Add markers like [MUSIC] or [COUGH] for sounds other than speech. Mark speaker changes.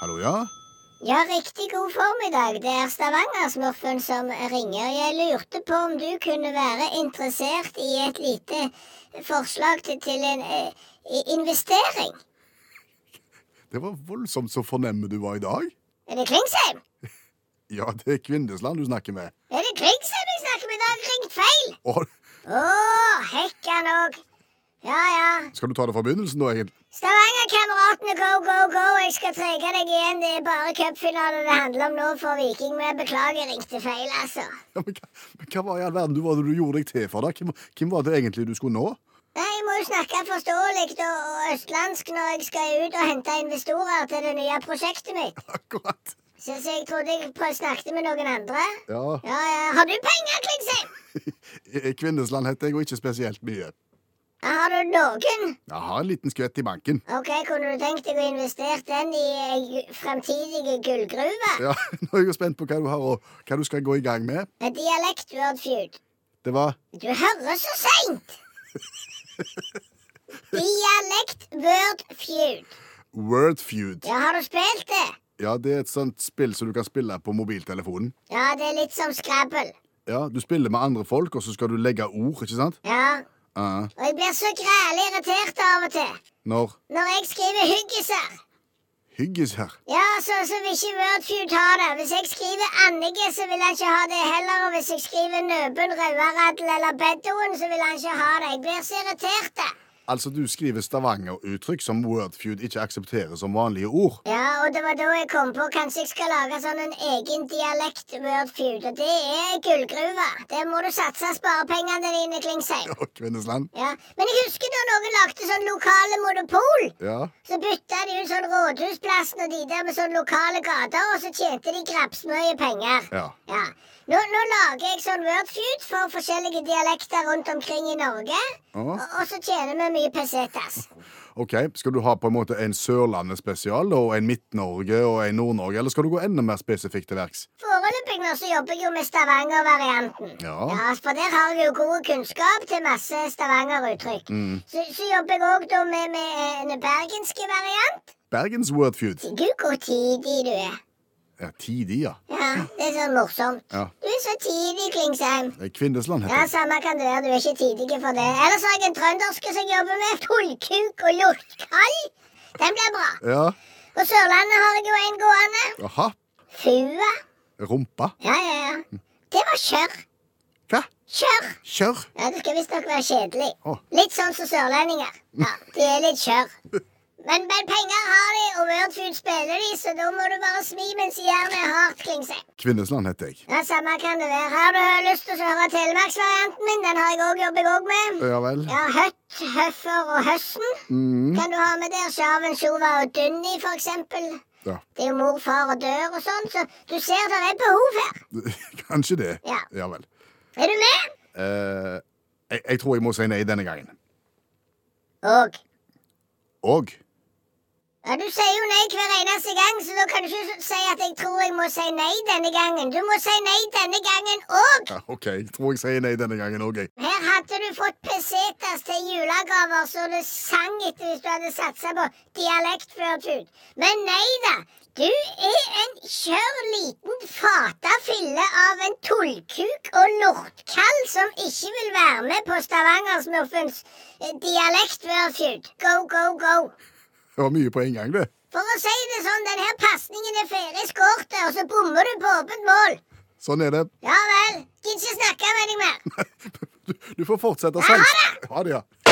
Speaker 1: Hallo, ja?
Speaker 2: Ja, riktig god formiddag. Det er Stavanger-smurfen som ringer. Jeg lurte på om du kunne være interessert i et lite forslag til, til en eh, i- investering.
Speaker 1: Det var voldsomt så fornemme du var i dag.
Speaker 2: Er det Klingsheim?
Speaker 1: Ja, det er Kvindesland du snakker med.
Speaker 2: Er det Klingsheim jeg snakker med i dag? Ringt feil!
Speaker 1: Å,
Speaker 2: Å, hekkan òg. Ja, ja.
Speaker 1: skal du ta det fra begynnelsen da, Egil?
Speaker 2: Stavanger-kameratene, go, go, go. Jeg skal trege deg igjen. Det er bare cupfinale det handler om nå for Viking. Men jeg beklager, ringte feil, altså.
Speaker 1: Ja, men, hva, men hva var i all verden du, var det du gjorde deg til for, da? Hvem, hvem var det egentlig du skulle nå?
Speaker 2: Nei, Jeg må jo snakke forståelig og, og østlandsk når jeg skal ut og hente investorer til det nye prosjektet mitt.
Speaker 1: [LAUGHS] Akkurat.
Speaker 2: Så, så jeg trodde jeg prøv, snakket med noen andre.
Speaker 1: Ja,
Speaker 2: Ja, ja. Har du penger, Klingsheim?
Speaker 1: Kvindesland heter jeg, og ikke spesielt mye.
Speaker 2: Ja, Har du noen?
Speaker 1: Jeg har en liten skvett i banken.
Speaker 2: Ok, Kunne du tenkt deg å investere den i ei gu- framtidige gullgruve?
Speaker 1: Ja, [LAUGHS] Nå er jeg jo spent på hva du har, og hva du skal gå i gang med.
Speaker 2: Med Dialektwordfeud.
Speaker 1: Det var
Speaker 2: Du hører så seint! Dialektwordfeud.
Speaker 1: Word Feud.
Speaker 2: Ja, har du spilt det?
Speaker 1: Ja, det er et sånt spill som du kan spille på mobiltelefonen.
Speaker 2: Ja, det er litt som Scrabble.
Speaker 1: Ja, Du spiller med andre folk, og så skal du legge ord, ikke sant?
Speaker 2: Ja,
Speaker 1: Ja.
Speaker 2: Og jeg blir så grælig irritert av og til
Speaker 1: Når
Speaker 2: når jeg skriver 'hyggiser'.
Speaker 1: hygges her
Speaker 2: Ja, så, så vil ikke Wordfeud ha det. Hvis jeg skriver 'Annige', så vil han ikke ha det heller. Og hvis jeg skriver 'Nøben, Rauaradel eller Beddoen', så vil han ikke ha det. Jeg blir så irritert. det.
Speaker 1: Altså, du skriver Stavanger-uttrykk som Wordfeud ikke aksepterer som vanlige ord. [LAUGHS]
Speaker 2: Ja, og det var da jeg kom på kanskje jeg skal lage sånn en egen dialekt-Wordfeud. Og det er gullgruve. Der må du satse sparepengene dine, Klingsheim.
Speaker 1: Ja, Kvinnesland.
Speaker 2: Ja. Men jeg husker da noen lagde sånn lokale monopol.
Speaker 1: Ja.
Speaker 2: Så bytta de ut sånn Rådhusplassen og de der med sånn lokale gater, og så tjente de grabsmye penger.
Speaker 1: Ja.
Speaker 2: Ja. Nå, nå lager jeg sånn Wordfeud for forskjellige dialekter rundt omkring i Norge.
Speaker 1: Ja.
Speaker 2: Og, og så tjener vi mye pesetas.
Speaker 1: Ok, Skal du ha på en måte en Sørlandet spesial og en Midt-Norge og en Nord-Norge, eller skal du gå enda mer spesifikt til verks?
Speaker 2: Foreløpig nå så jobber jeg jo med Stavanger-varianten.
Speaker 1: Ja.
Speaker 2: For der har jeg jo god kunnskap til masse Stavanger-uttrykk. Så, så jobber jeg òg da med, med eh, en bergenske variant.
Speaker 1: Bergens Wordfeud.
Speaker 2: Gud, hvor tidig du er.
Speaker 1: Ja, Tidig, ja.
Speaker 2: Ja, Det er sånn morsomt.
Speaker 1: Ja.
Speaker 2: Du er så tidig, Klingsheim.
Speaker 1: Det er Kvindesland
Speaker 2: Ja,
Speaker 1: heter det.
Speaker 2: samme kan det være. Du er ikke tidig for det. Ellers har jeg en trønderske som jobber med tullkuk og lortkall. Den blir bra.
Speaker 1: Ja.
Speaker 2: På Sørlandet har jeg jo en gående.
Speaker 1: Aha.
Speaker 2: Fua.
Speaker 1: Rumpa.
Speaker 2: Ja, ja, ja. Det var kjørr.
Speaker 1: Hva?
Speaker 2: Kjørr.
Speaker 1: Kjør.
Speaker 2: Ja, det skal visstnok være kjedelig.
Speaker 1: Å.
Speaker 2: Litt sånn som sørlendinger. Ja, De er litt kjørr. Men, men penger har de, og Wordfood spiller de, så da må du bare smi mens jernet er hardt, Klingsheim.
Speaker 1: Kvinnesland heter jeg.
Speaker 2: Ja, samme kan det være. Har du lyst til å høre telemarksvarianten min? Den har jeg òg jobber jeg òg med.
Speaker 1: Ja vel.
Speaker 2: Ja, høtt, høffer og høsten.
Speaker 1: Mm. [LAUGHS]
Speaker 2: Kan du ha med der sjarven, sjova og dunni, for eksempel?
Speaker 1: Ja.
Speaker 2: Det er jo mor, far og dør og sånn, så du ser det er behov her.
Speaker 1: Kanskje det.
Speaker 2: Ja.
Speaker 1: Ja vel.
Speaker 2: Er du med?
Speaker 1: Eh, jeg, jeg tror jeg må si nei denne gangen.
Speaker 2: Og
Speaker 1: Og
Speaker 2: ja, Du sier jo nei hver eneste gang, så da kan du ikke si at 'jeg tror jeg må si nei denne gangen'. Du må si nei denne gangen òg!
Speaker 1: ja, OK, jeg tror jeg sier nei denne gangen òg, jeg.
Speaker 2: Her hadde du fått pesetas til julegaver så det sang etter hvis du hadde satsa på dialektførtud. Men nei da, du er en kjør liten fatafille av en tullkuk og lortkall som ikke vil være med på eh, Stavangersmurfens dialektførtud. Go, go, go.
Speaker 1: Det var mye på en gang, det.
Speaker 2: For å si det sånn, den her pasningen er ferdig skåret, og så bommer du på åpent mål.
Speaker 1: Sånn er det. [LAUGHS]
Speaker 2: Ja vel. Gidder ikke snakke med deg mer.
Speaker 1: Du, du får fortsette
Speaker 2: Ja, ha
Speaker 1: selv. Ha det, ja.